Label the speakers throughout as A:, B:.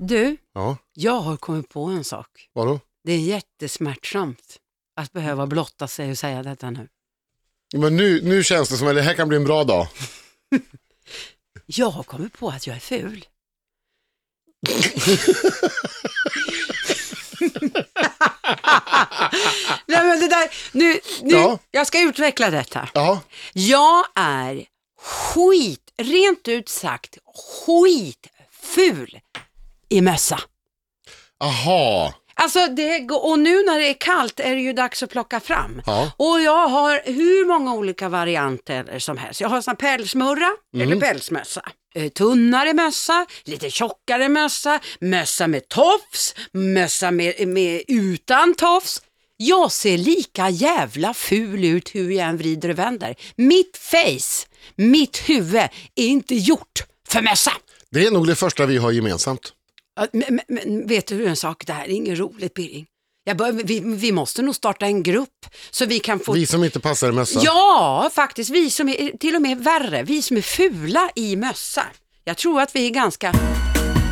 A: Du,
B: Ja,
A: jag har kommit på en sak.
B: vadå?
A: Det är jättesmärtsamt att behöva blotta sig och säga detta nu.
B: Men nu, nu känns det som att det här kan bli en bra dag.
A: Jag har kommit på att jag är ful. Nej, men det där, nu, nu,
B: Ja.
A: Jag ska utveckla detta.
B: Ja,
A: Jag är skit, rent ut sagt skitful i mössa.
B: aha.
A: Alltså det, går- och nu när det är kallt är det ju dags att plocka fram.
B: Ja.
A: Och jag har hur många olika varianter som helst. Jag har sån här pälsmurra eller pälsmössa. Eh, Tunnare mössa, lite tjockare mössa, mössa med tofs, mössa med, med utan tofs. Jag ser lika jävla ful ut hur jag än vrider och vänder. Mitt face, mitt huvud är inte gjort för mössa.
B: Det är nog det första vi har gemensamt.
A: Ja, Men, men, men vet du en sak, det här är inget roligt Birring. Jag bör, vi, vi måste nog starta en grupp så vi kan få...
B: Vi som inte passar i mössa.
A: Ja, faktiskt. Vi som är till och med värre, vi som är fula i mössa. Jag tror att vi är ganska,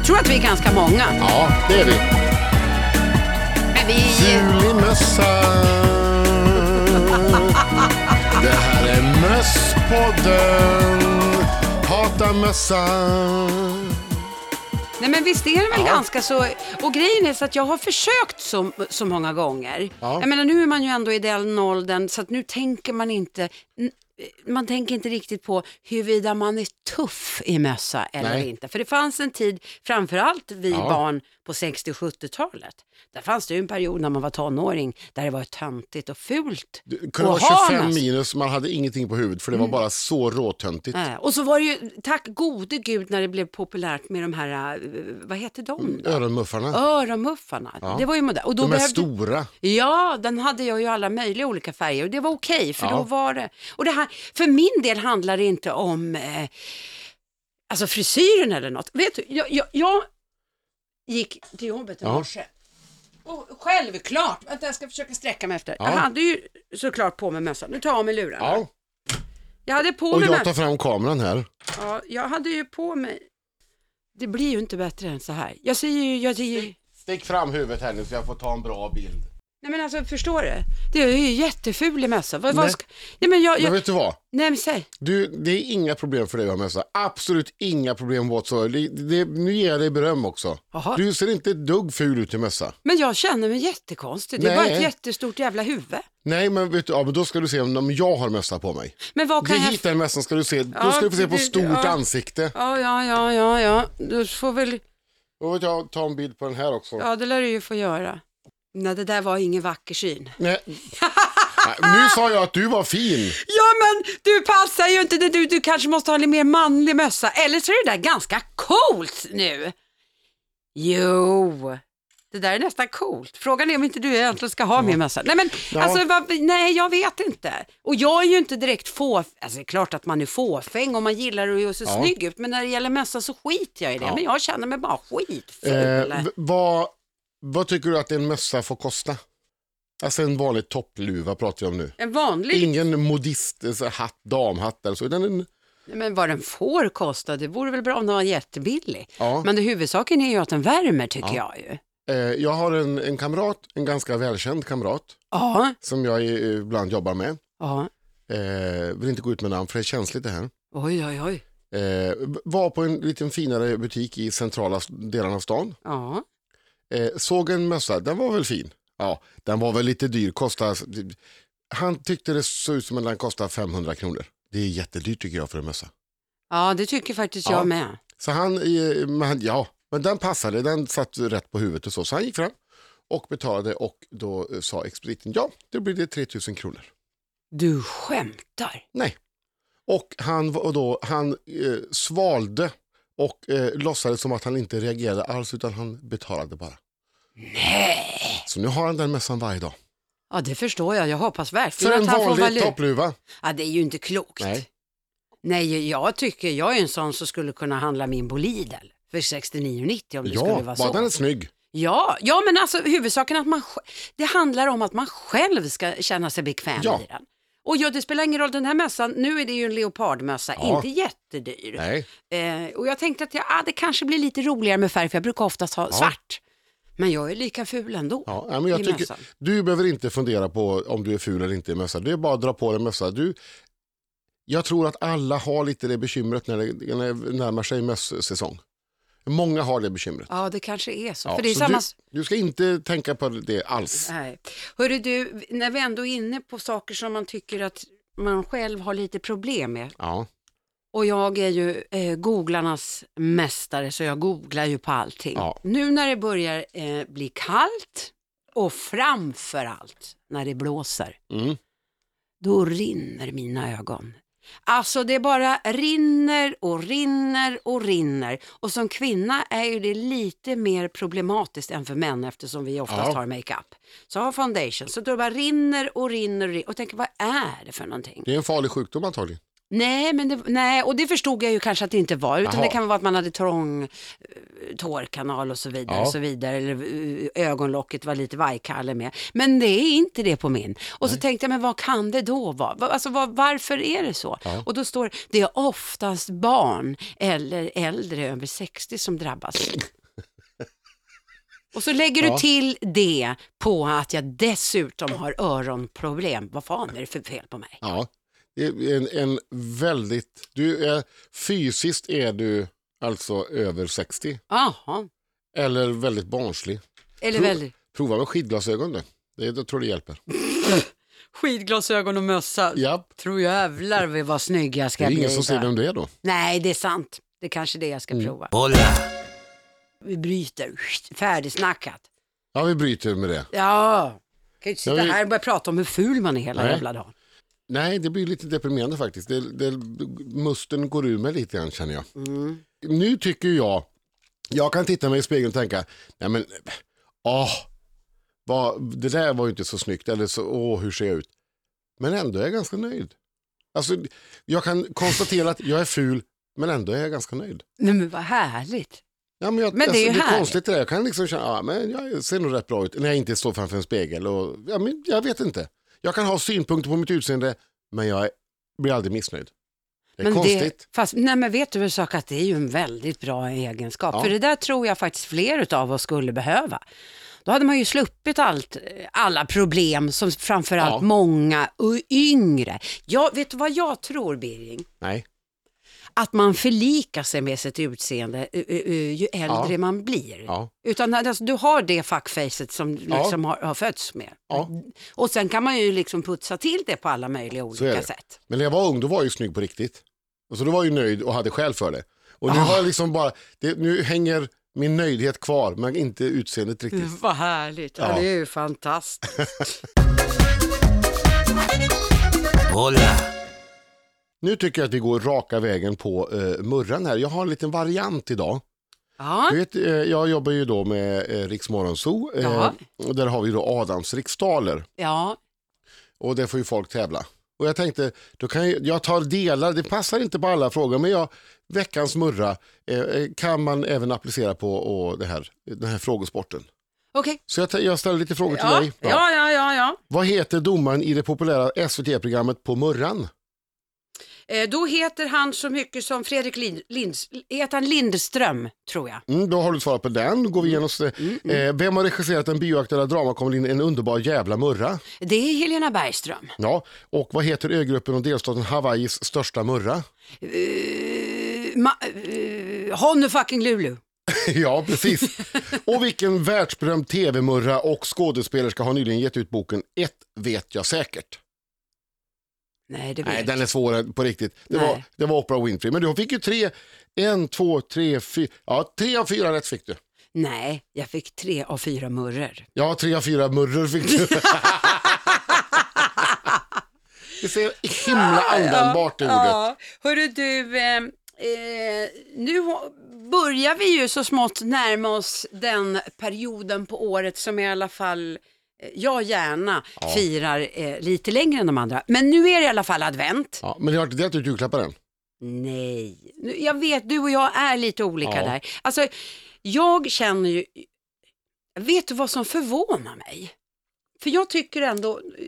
A: tror att vi är ganska många.
B: Ja, det är vi.
A: Men vi,
B: Jul i mössa. Det här är Mösspodden. Hata mössa.
A: nej men visst är det väl ganska så, och grejen är så att jag har försökt så, så många gånger.
B: Ja.
A: Jag menar nu är man ju ändå i den åldern så att nu tänker man inte, n- man tänker inte riktigt på huruvida man är tuff i mössa eller
B: Nej.
A: inte. För det fanns en tid, framförallt vi
B: Ja.
A: barn på 60-70-talet, där fanns det ju en period när man var tonåring där det var töntigt och fult.
B: Det kunde
A: Och
B: vara
A: ha
B: 25
A: mössa.
B: minus, man hade ingenting på huvudet för det var bara så råtöntigt.
A: Nej, Eh, Och så var det ju, tack gode gud, när det blev populärt med de här, eh, vad heter de då?
B: Öronmuffarna.
A: Öronmuffarna. Det var ju modernt. Och då
B: De är
A: behövde...
B: stora.
A: Ja, den hade jag ju alla möjliga olika färger och det var okej för
B: Ja.
A: då var det. Och det här, för min del handlar det inte om eh, alltså frisyren eller något. Vet du, jag, jag, jag gick till jobbet i
B: Ja.
A: morse. Och självklart, vänta jag ska försöka sträcka mig efter.
B: Ja.
A: Jag hade ju såklart på mig mössan, nu tar jag av mig lurarna.
B: Ja.
A: Jag hade på
B: Och
A: mig
B: jag
A: mössan.
B: tar fram kameran här.
A: Ja, jag hade ju på mig. Det blir ju inte bättre än så här. Jag ser ju, jag ser ju...
B: Stick fram huvudet här nu så jag får ta en bra bild.
A: Nej men alltså förstår du? Det är ju jätteful i mössa. Vad,
B: Nej.
A: vad ska... Nej men jag, jag...
B: Men vet du vad?
A: Nej men säg.
B: Du, det är inga problem för dig att ha mössa. Absolut inga problem whatsoever. Det, det, nu ger jag dig beröm också.
A: Jaha.
B: Du ser inte ett dugg ful ut i mössa.
A: Men jag känner mig jättekonstig. Det är
B: Nej.
A: bara ett jättestort jävla huvud.
B: Nej, men vet du, ja, men då ska du se om jag har mössa på mig.
A: Men vad
B: Du
A: kan jag...
B: hittar en mössan ska du se.
A: Ja,
B: Då ska du få se på
A: det-
B: stort
A: ja.
B: ansikte.
A: Ja, ja, ja, ja, ja. Du får väl...
B: Då vill jag ta en bild på den här också.
A: Ja, det lär du ju få göra. Nej, det där var ingen vacker syn.
B: Nej. Nej, nu sa jag att du var fin.
A: Ja, men du passar ju inte. Du, du kanske måste ha en mer manlig mössa. Eller så är det där ganska coolt nu. Jo, det där är nästan coolt. Frågan är om inte du egentligen ska ha mer mössa. Nej, men
B: Ja.
A: alltså, vad, nej, jag vet inte. Och jag är ju inte direkt få... Alltså, det är klart att man är fåfäng och man gillar att se
B: Ja.
A: snygg ut, men när det gäller mössa så skiter jag i det. Men jag känner mig bara skitful.
B: Eh, v- vad, vad tycker du att en mössa får kosta? Alltså en vanlig toppluva pratar vi om nu.
A: en vanlig...
B: Ingen modist, alltså, hatt, damhatt eller så. utan en,
A: Nej, Men vad den får kosta, det vore väl bra om den var jättebillig.
B: ja.
A: Men det huvudsaken är ju att den värmer tycker jag ju.
B: Eh, jag har en, en kamrat, en ganska välkänd kamrat
A: Ja,
B: som jag eh, ibland jobbar med.
A: ja.
B: Eh, vill inte gå ut med namn för det är känsligt det här.
A: Oj, oj, oj.
B: Eh, var på en liten finare butik i centrala s- delarna av stan.
A: Ja.
B: Eh, såg en mössa, den var väl fin. Ja, den var väl lite dyr. Kostade, han tyckte det såg ut som att den kostade 500 kronor. Det är jättedyrt tycker jag för en mössa.
A: ja, det tycker faktiskt
B: Ja.
A: jag med.
B: Så han, eh, men han, ja, men den passade, den satt rätt på huvudet och så. Så han gick fram och betalade och då eh, sa expediten, ja, då blir det 3000 kronor.
A: Du skämtar.
B: Nej. Och han, var då, han eh, svalde och eh, låtsades som att han inte reagerade alls utan han betalade bara. Nej. Så nu har han den mössan varje dag.
A: Ja, det förstår jag. Jag hoppas
B: För
A: verkligen
B: en
A: att han får
B: vanlig
A: valuta.
B: toppluva.
A: Ja, det är ju inte klokt.
B: Nej.
A: Nej, jag tycker, jag är ju en sån som skulle kunna handla min Bolidel för 69,90 om det skulle
B: Ja,
A: vara så.
B: bara den är snygg.
A: Ja, ja, men alltså huvudsaken är att man, sj- det handlar om att man själv ska känna sig bekväm
B: Ja.
A: i den. Och ja, det spelar ingen roll, den här mössan, nu är det ju en leopardmössa,
B: Ja.
A: inte jättedyr.
B: Nej.
A: Eh, och jag tänkte att jag, ah, det kanske blir lite roligare med färg, för jag brukar oftast ha svart. Men jag är lika ful ändå.
B: Ja, nej, men jag
A: I
B: tycker,
A: mössan.
B: du behöver inte fundera på om du är ful eller inte i mössa. Det är bara att dra på dig en mössa. Du, jag tror att alla har lite det bekymret när det, när det närmar sig mössäsong. Många har det bekymret.
A: Ja, det kanske är så.
B: Ja,
A: för det är
B: så
A: samma...
B: du, du ska inte tänka på det alls.
A: Nej. Hörru du, när vi ändå är inne på saker som man tycker att man själv har lite problem med.
B: Ja,
A: Och jag är ju eh, googlarnas mästare så jag googlar ju på allting.
B: Ja.
A: Nu när det börjar eh, bli kallt och framför allt när det blåser,
B: mm.
A: då rinner mina ögon. Alltså det bara rinner och rinner och rinner. Och som kvinna är ju det lite mer problematiskt än för män eftersom vi oftast
B: Ja.
A: har makeup. Så har foundation, så då bara rinner och rinner och rinner. Och tänker vad är det för någonting?
B: det är en farlig sjukdom antagligen.
A: Nej, men det, nej, och det förstod jag ju kanske att det inte var, utan
B: Jaha.
A: det kan vara att man hade trång eh, tårkanal och så vidare,
B: Ja.
A: och så vidare eller eh, ögonlocket var lite vajkalle med. Men det är inte det på min. Och så tänkte jag, men vad kan det då vara? Va- Alltså, vad- varför är det så?
B: Ja.
A: Och då står det, det är oftast barn eller äldre över 60 som drabbas. Och så lägger
B: Ja.
A: du till det på att jag dessutom har öronproblem. Vad fan är det för fel på mig?
B: Ja. Det är en, en väldigt... Du är, fysiskt är du alltså över 60
A: Jaha,
B: eller väldigt barnslig.
A: eller
B: Tror-
A: väldigt... Mm.
B: Prova med skidglasögon du. Det, jag tror det hjälper.
A: Skidglasögon och mössa.
B: Japp.
A: Tror jävlar vi vad snygg jag
B: Det
A: ska
B: är
A: bli.
B: ingen som ser Mm.
A: va?
B: vem det är då.
A: Nej, det är sant. Det är kanske det jag ska prova. Vi bryter. Färdigsnackat.
B: Ja, vi bryter med det.
A: Ja. Kan ju inte sitta
B: Ja, vi-
A: här och börja prata om hur ful man är hela
B: Nej.
A: jävla dagen.
B: Nej, det blir lite deprimerande faktiskt. Det, det, musten går ur mig lite grann känner jag.
A: Mm.
B: Nu tycker jag, jag kan titta mig i spegeln och tänka, nej men, åh, vad, det där var ju inte så snyggt, eller så, åh, hur ser jag ut? Men ändå är jag ganska nöjd. Alltså, jag kan konstatera att jag är ful, men ändå är jag ganska nöjd.
A: Nej men vad härligt.
B: Ja, men jag,
A: Men det är
B: alltså,
A: ju
B: det är
A: härligt.
B: konstigt det där. Jag kan liksom känna, ja, men jag ser nog rätt bra ut när jag inte står framför en spegel. Och, ja, men jag vet inte. Jag kan ha synpunkter på mitt utseende, men jag är- blir aldrig missnöjd. Det är
A: men
B: konstigt.
A: Det, fast, nej men vet du en sak att det är ju en väldigt bra egenskap.
B: Ja.
A: För det där tror jag faktiskt fler utav oss skulle behöva. Då hade man ju sluppit allt, alla problem som framförallt
B: Ja.
A: många och yngre. Jag, vet du vad jag tror Birging?
B: Nej.
A: att man förlikar sig med sitt utseende eh, eh, eh, ju äldre
B: Ja.
A: man blir.
B: Ja.
A: Utan alltså, du har det fuckfacet som du
B: Ja.
A: liksom har, har fötts med.
B: Ja.
A: Och sen kan man ju liksom putsa till det på alla möjliga
B: är
A: olika
B: det.
A: sätt.
B: Men när jag var ung, då var jag ju snygg på riktigt. Och så då var jag ju nöjd och hade skäl för det. Och
A: Ah.
B: nu har jag liksom bara, det, nu hänger min nöjdhet kvar, men inte utseendet riktigt.
A: Vad härligt, ja.
B: Ja.
A: det är ju fantastiskt.
B: Nu tycker jag att vi går raka vägen på eh, murran här. Jag har en liten variant idag.
A: Ja,
B: Du vet, eh, jag jobbar ju då med eh, Riks Morgonzoo. eh,
A: Jaha.
B: och Där har vi då Adams riksdaler
A: ja.
B: och där får ju folk tävla. Och jag tänkte, då kan jag, jag tar delar, det passar inte på alla frågor, men jag, veckans murra eh, eh, kan man även applicera på och det här, den här frågesporten.
A: okej.
B: Så jag, tä- jag ställer lite frågor till
A: Ja.
B: dig. Bra.
A: ja, ja, ja, ja.
B: Vad heter domaren i det populära SVT-programmet På murran?
A: Eh, då heter han så mycket som Fredrik Lind, Linds, heter han Lindström, tror jag. Mm.
B: Mm, då har du svarat på den. Då går vi igenom. eh, Eh, vem har regisserat den bioaktuella dramakomedin En underbar jävla murra?
A: Det är Helena Bergström.
B: Ja, och vad heter ögruppen och delstaten Hawaiis största murra?
A: Eh, ma, eh, Honne fucking Lulu.
B: ja, precis. Och vilken världsberömd tv-murra och skådespelerska har nyligen gett ut boken Ett vet jag säkert.
A: Nej, det vet
B: Nej,
A: jag
B: den är svår på riktigt. Det
A: Nej.
B: var, det var Oprah Winfrey. Men du fick ju tre, en, två, tre, fyra, ja tre av fyra rätt fick du.
A: Nej, jag fick tre av fyra murror.
B: Ja, tre av fyra murror fick du. Det ser himla användbart i ordet.
A: Ja, hörru du, eh, eh, nu ho- börjar vi ju så smått närma oss den perioden på året som i alla fall eh, jag gärna firar eh, lite längre än de andra. Men nu är det i alla fall advent.
B: Ja, men jag har inte delat ut julklappar än.
A: Nej, Nu- jag vet du och jag är lite olika
B: Ja.
A: där. Alltså, jag känner ju, vet du vad som förvånar mig? För jag tycker ändå, eh,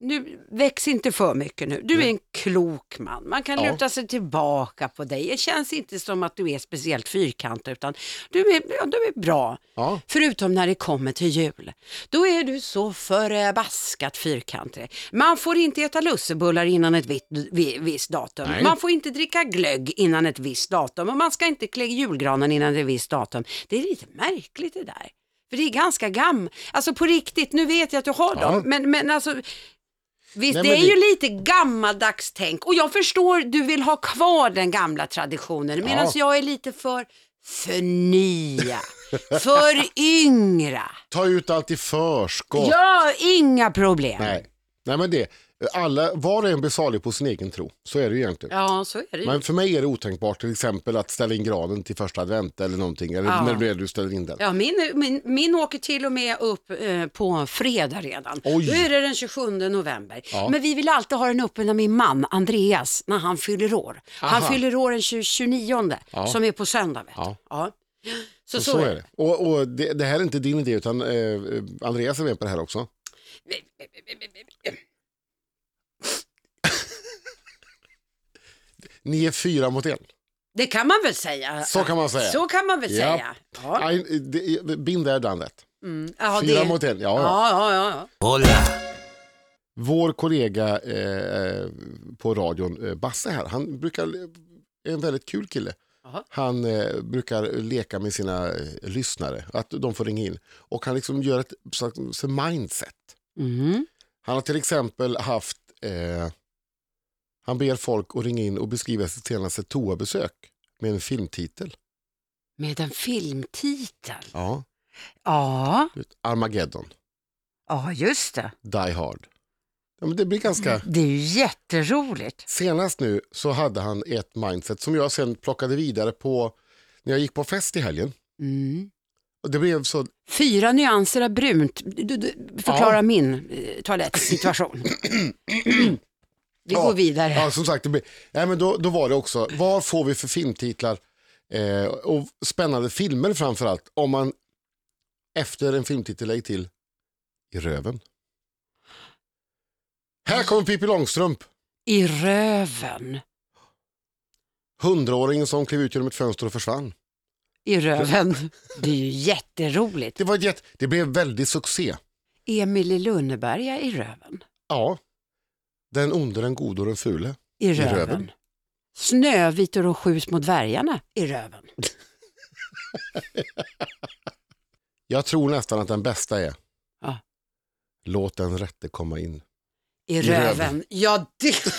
A: nu väx inte för mycket nu. Du är en klok man. Man kan
B: Ja.
A: luta sig tillbaka på dig. Det känns inte som att du är speciellt fyrkantig utan du är, ja, du är bra.
B: Ja.
A: Förutom när det kommer till jul. Då är du så förbaskat fyrkantig. Man får inte äta lussebullar innan ett vitt, vi, visst datum.
B: Nej.
A: Man får inte dricka glögg innan ett visst datum. Och man ska inte klä julgranen innan ett visst datum. Det är lite märkligt det där. För det är ganska gam. Alltså på riktigt, nu vet jag att du har
B: Ja.
A: dem. Men, men alltså, visst
B: Nej,
A: det
B: men
A: är
B: det-
A: ju lite gammaldags tänk. Och jag förstår, du vill ha kvar den gamla traditionen. Medan
B: Ja.
A: jag är lite för förnya, föryngra.
B: Ta ut allt i förskott.
A: Ja, inga problem.
B: Nej. Nej, men det. Alla, var och en blir salig på sin egen tro. Så är det ju egentligen.
A: Ja, så är det ju.
B: Men för mig är det otänkbart till exempel att ställa in granen till första advent eller någonting. Eller
A: Ja.
B: när det är du ställer in den.
A: Ja, min, min, min åker till och med upp eh, på fredag redan.
B: Oj.
A: Då är det den 27 november.
B: Ja.
A: Men vi vill alltid ha den uppe när min man Andreas, när han fyller år. Han
B: Aha.
A: fyller år den 20 29
B: Ja.
A: som är på söndag. Vet du.
B: Ja.
A: Ja. Så,
B: Så, så är det. Och, och det, det här är inte din idé utan eh, Andreas är med på det här också. Ni är fyra mot en.
A: Det kan man väl säga.
B: Så kan man säga.
A: Så kan man väl
B: Ja.
A: säga. Ja.
B: I, det, been there, done that.
A: Mm. Ja,
B: Fyra
A: det...
B: mot en, ja, ja.
A: Ja, ja, ja. ja.
B: Vår kollega eh, på radion, eh, Basse här, han brukar, är en väldigt kul kille.
A: Jaha.
B: Han eh, brukar leka med sina eh, lyssnare, att de får ringa in. Och han liksom gör ett slags mindset.
A: Mm.
B: Han har till exempel haft, eh, han ber folk att ringa in och beskriva sitt senaste toabesök med en filmtitel.
A: Med en filmtitel.
B: Ja.
A: Ja,
B: Du vet, Armageddon,
A: ja just det.
B: Die Hard. Ja, men det blir ganska...
A: Det är ju jätteroligt.
B: Senast nu så hade han ett mindset som jag sen plockade vidare på när jag gick på fest i helgen.
A: Mm.
B: Och det blev så,
A: Fyra nyanser av brunt du, du, förklarar
B: Ja.
A: min eh, toalettsituation. Vi
B: Ja.
A: går vidare.
B: ja, som sagt, det blev, nej, men då, då var det också, vad får vi för filmtitlar eh, och spännande filmer framförallt om man efter en filmtitel lägger till i röven. Här kommer Pippi Långstrump,
A: I röven.
B: hundraåringen som klev ut genom ett fönster och försvann.
A: I röven. Det är ju jätteroligt.
B: Det, var ett jätte, det blev väldigt succé.
A: Emil i Lönneberga i röven.
B: Ja, den onde, den gode och den fule.
A: I röven.
B: röven.
A: Snövit och de sju små dvärgarna i röven.
B: Jag tror nästan att den bästa är
A: Ja.
B: Låt den rätte komma in.
A: I,
B: röven.
A: röven. Ja, det...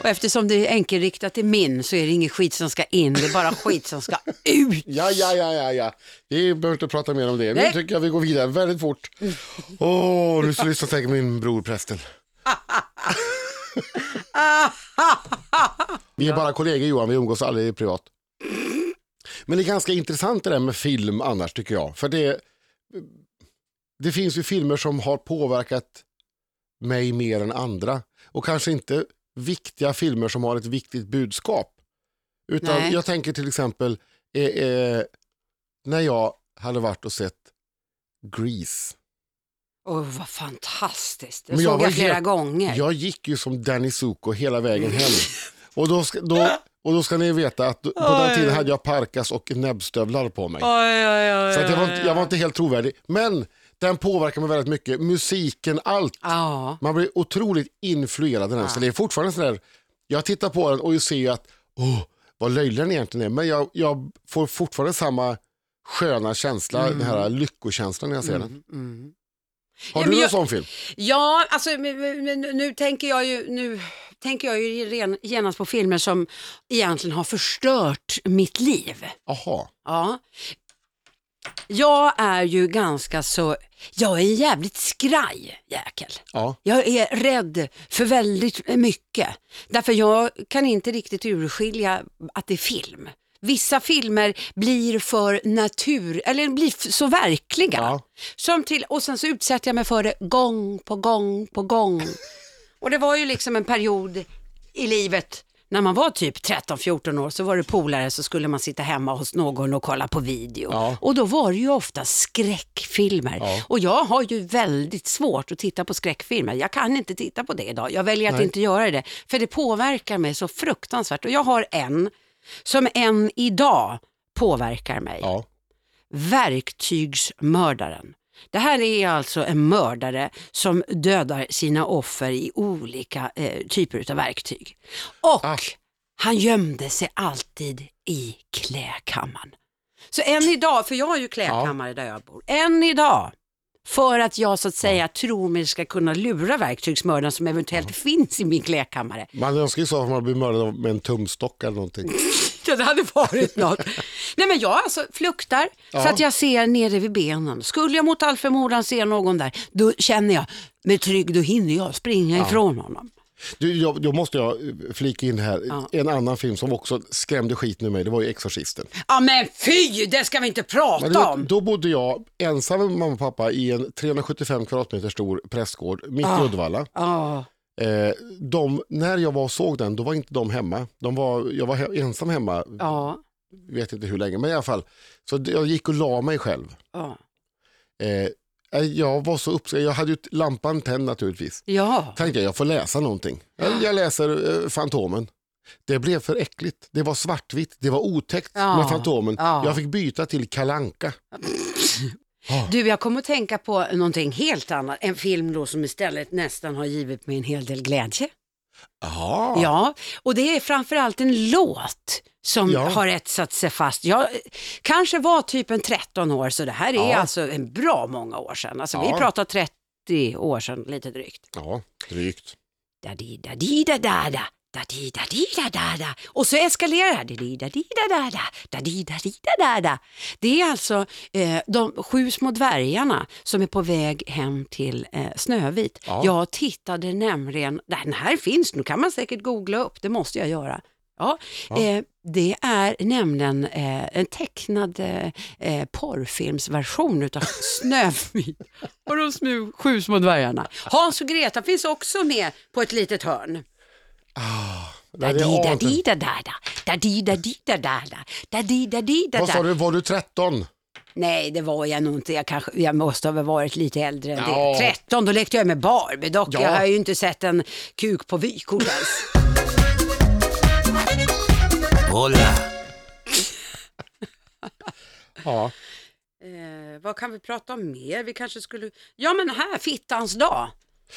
A: Och eftersom det är enkelriktat till min så är det ingen skit som ska in, det är bara skit som ska ut.
B: Ja, ja, ja, ja, ja. Vi behöver inte prata mer om det. Nu
A: Nej. Mm.
B: tycker jag vi går vidare väldigt fort. Åh, nu ska jag lyssna tänker min bror prästen. vi är bara kollegor Johan, vi umgås aldrig privat. Men det är ganska intressant det där med film annars tycker jag. För det, det finns ju filmer som har påverkat mig mer än andra. Och kanske inte viktiga filmer som har ett viktigt budskap. Utan
A: Nej.
B: jag tänker till exempel eh, eh, när jag hade varit och sett Grease.
A: Åh, vad fantastiskt. Det
B: Men jag
A: såg
B: var
A: jag flera
B: helt-
A: gånger.
B: Jag gick ju som Danny Zuko hela vägen hem. Och då, ska, då, och då ska ni veta att på den
A: Oj.
B: tiden hade jag parkas och näbbstövlar på mig.
A: Oj, oj, oj,
B: Så att jag, var
A: oj,
B: inte,
A: oj.
B: jag var inte helt trovärdig. Men den påverkar mig väldigt mycket. Musiken, allt.
A: Ja,
B: Man blir otroligt influerad av den. här. Så det är fortfarande sån där, jag tittar på den och jag ser ju att, åh, vad löjlig den egentligen är. Men jag, jag får fortfarande samma sköna känsla, den här lyckokänslan när jag ser den.
A: mm.
B: Har
A: Ja,
B: du
A: men
B: någon
A: jag-
B: sån film?
A: ja alltså men- men- men nu tänker jag ju, nu tänker jag ju ren- genast på filmer som egentligen har förstört mitt liv.
B: Jaha,
A: Ja. Jag är ju ganska så, jag är en jävligt skraj jäkel.
B: ja.
A: Jag är rädd för väldigt mycket. Därför jag kan inte riktigt urskilja att det är film. Vissa filmer blir för natur, eller blir f- så verkliga.
B: Ja.
A: Som till, och sen så utsätter jag mig för det gång på gång på gång. Och det var ju liksom en period i livet när man var typ 13-14 år så var det polare så skulle man sitta hemma hos någon och kolla på video.
B: Ja.
A: Och då var det ju ofta skräckfilmer.
B: Ja.
A: Och jag har ju väldigt svårt att titta på skräckfilmer. Jag kan inte titta på det idag. Jag väljer att
B: Nej.
A: inte göra det. För det påverkar mig så fruktansvärt. Och jag har en som än idag påverkar mig.
B: Ja.
A: Verktygsmördaren. Det här är alltså en mördare som dödar sina offer i olika eh, typer av verktyg. Och
B: Ah.
A: han gömde sig alltid i kläkammaren. Så än idag, för jag har ju kläkammare där jag bor, än idag för att jag så att säga tror mig ska kunna lura verktygsmördaren som eventuellt finns i min kläkammare.
B: Man önskar ju så att man blir mördad av- med en tumstock eller någonting.
A: Ja, det hade varit något. Nej men jag alltså fluktar så
B: Ja.
A: att jag ser nere vid benen. Skulle jag mot all förmodan se någon där, då känner jag mig trygg, då hinner jag springa ifrån honom.
B: Du, jag, då måste jag eh, flika in här, en annan film som också skrämde skiten ur mig, det var ju Exorcisten.
A: Ja men fy, det ska vi inte prata
B: Men du vet,
A: om.
B: då bodde jag ensam med mamma och pappa i en 375 kvadratmeter stor prästgård mitt i Uddevalla.
A: Ja,
B: Eh, de, när jag var och såg den, då var inte de hemma. De var, jag var he- ensam hemma,
A: ja,
B: vet inte hur länge, men i alla fall. Så det- jag gick och la mig själv.
A: ja.
B: Eh, eh, jag var så uppskattad, jag hade ju t- lampan tänd naturligtvis.
A: ja.
B: Tänkte jag, jag får läsa någonting. Jag, jag läser eh, Fantomen. Det blev för äckligt. Det var svartvitt, det var otäckt
A: Ja.
B: med Fantomen.
A: Ja.
B: Jag fick byta till Kalanka.
A: Du, jag kommer att tänka på någonting helt annat. En film då som istället nästan har givit mig en hel del glädje.
B: Aha.
A: Ja, och det är framförallt en låt som
B: Ja.
A: har etsat sig fast. Jag kanske var typ en 13 år, så det här är
B: Ja.
A: alltså en bra många år sedan. Alltså, Vi
B: Ja.
A: pratar 30 år sedan, lite drygt.
B: Ja, drygt.
A: Da di da di da da da da di da di da da da och så eskalerar det här. Da di da di da da da da di da di da da da. Det är alltså eh, de sju små dvärgarna som är på väg hem till eh, Snövit.
B: Ja.
A: Jag tittade nämligen, den här finns, nu kan man säkert googla upp, det måste jag göra. Ja, Eh, det är nämligen eh, en tecknad eh, eh, porrfilmsversion utav Snövit och de smu, sju små dvärgarna. Hans och Greta finns också med på ett litet hörn.
B: Nej, det är artigt.
A: Da-di-da-di-da-da-da, da-di-da-di-da-da-da, da-di-da-di-da-da.
B: Vad sa du, var du 13?
A: Nej, det var jag nog inte. Jag, kanske, jag måste ha varit lite äldre än
B: Ja.
A: det. 13, då lekte jag med Barbie dock.
B: Ja.
A: Jag har ju inte sett en kuk på vykort ens.
C: Hola,
B: Ja.
A: eh, vad kan vi prata om mer? Vi kanske skulle... Ja, men här, fittans dag.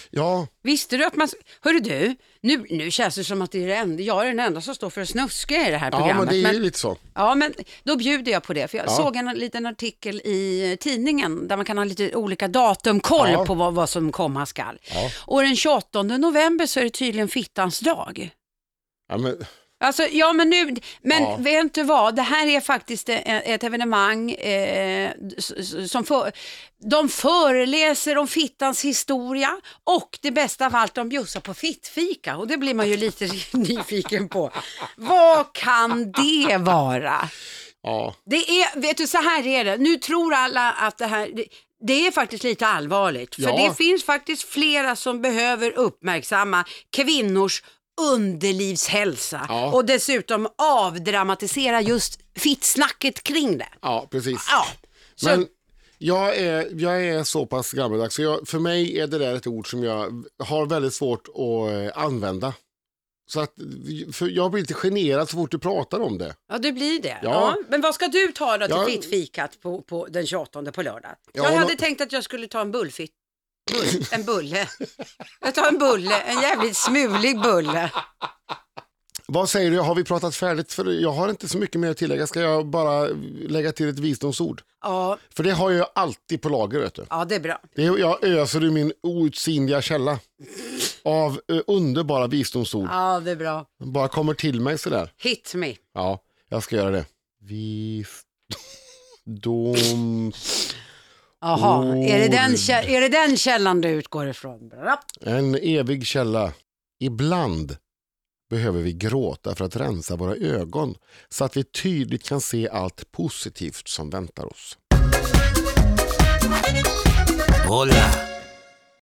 B: Ja,
A: Visste du att man... Hörru du, nu, nu känns det som att det är det enda, jag är den enda som står för att snuska i det här
B: ja
A: programmet.
B: men det är ju
A: men-
B: lite så.
A: Ja, men då bjuder jag på det. För jag
B: Ja.
A: såg en liten artikel i tidningen där man kan ha lite olika datumkoll
B: Ja.
A: på vad, vad som komma skall.
B: Ja.
A: Och den 28 november så är det tydligen fittans dag.
B: Ja, men,
A: Alltså, ja men nu, men
B: Ja.
A: vet du vad, det här är faktiskt e- ett evenemang eh, s- s- som för, de föreläser om fittans historia och det bästa av allt, de bjussar på fittfika och det blir man ju lite nyfiken på. Vad kan det vara?
B: ja.
A: Det är, vet du, så här är det. Nu tror alla att det här, det, det är faktiskt lite allvarligt. För
B: Ja.
A: det finns faktiskt flera som behöver uppmärksamma kvinnors underlivshälsa
B: Ja.
A: och dessutom avdramatisera just fittsnacket kring det.
B: ja, precis.
A: Ja, så,
B: Men jag är, jag är så pass gammaldags, så jag, för mig är det där ett ord som jag har väldigt svårt att eh, använda. Så att, för jag blir lite generad så fort du pratar om det.
A: ja du blir det. Ja.
B: Ja.
A: men vad ska du ta då till
B: Ja.
A: fittfikat på, på den 28 på lördag?
B: Ja,
A: jag
B: nå-
A: hade tänkt att jag skulle ta en bullfitt. Bull, en bulle. Jag tar en bulle, en jävligt smulig bulle.
B: Vad säger du, har vi pratat färdigt? För jag har inte så mycket mer att tillägga, ska jag bara lägga till ett visdomsord?
A: Ja,
B: För det har jag alltid på lager, vet du.
A: ja det är bra.
B: Det är, jag öser ur min outsinliga källa av eh, underbara visdomsord.
A: Ja, det är bra.
B: Bara kommer till mig sådär.
A: Hit me.
B: Ja, jag ska göra det. Visdom...
A: Jaha, är, det den,
B: Ord.
A: kä- är det den källan du utgår ifrån? Bra.
B: En evig källa. Ibland behöver vi gråta för att rensa våra ögon så att vi tydligt kan se allt positivt som väntar oss.
C: hola.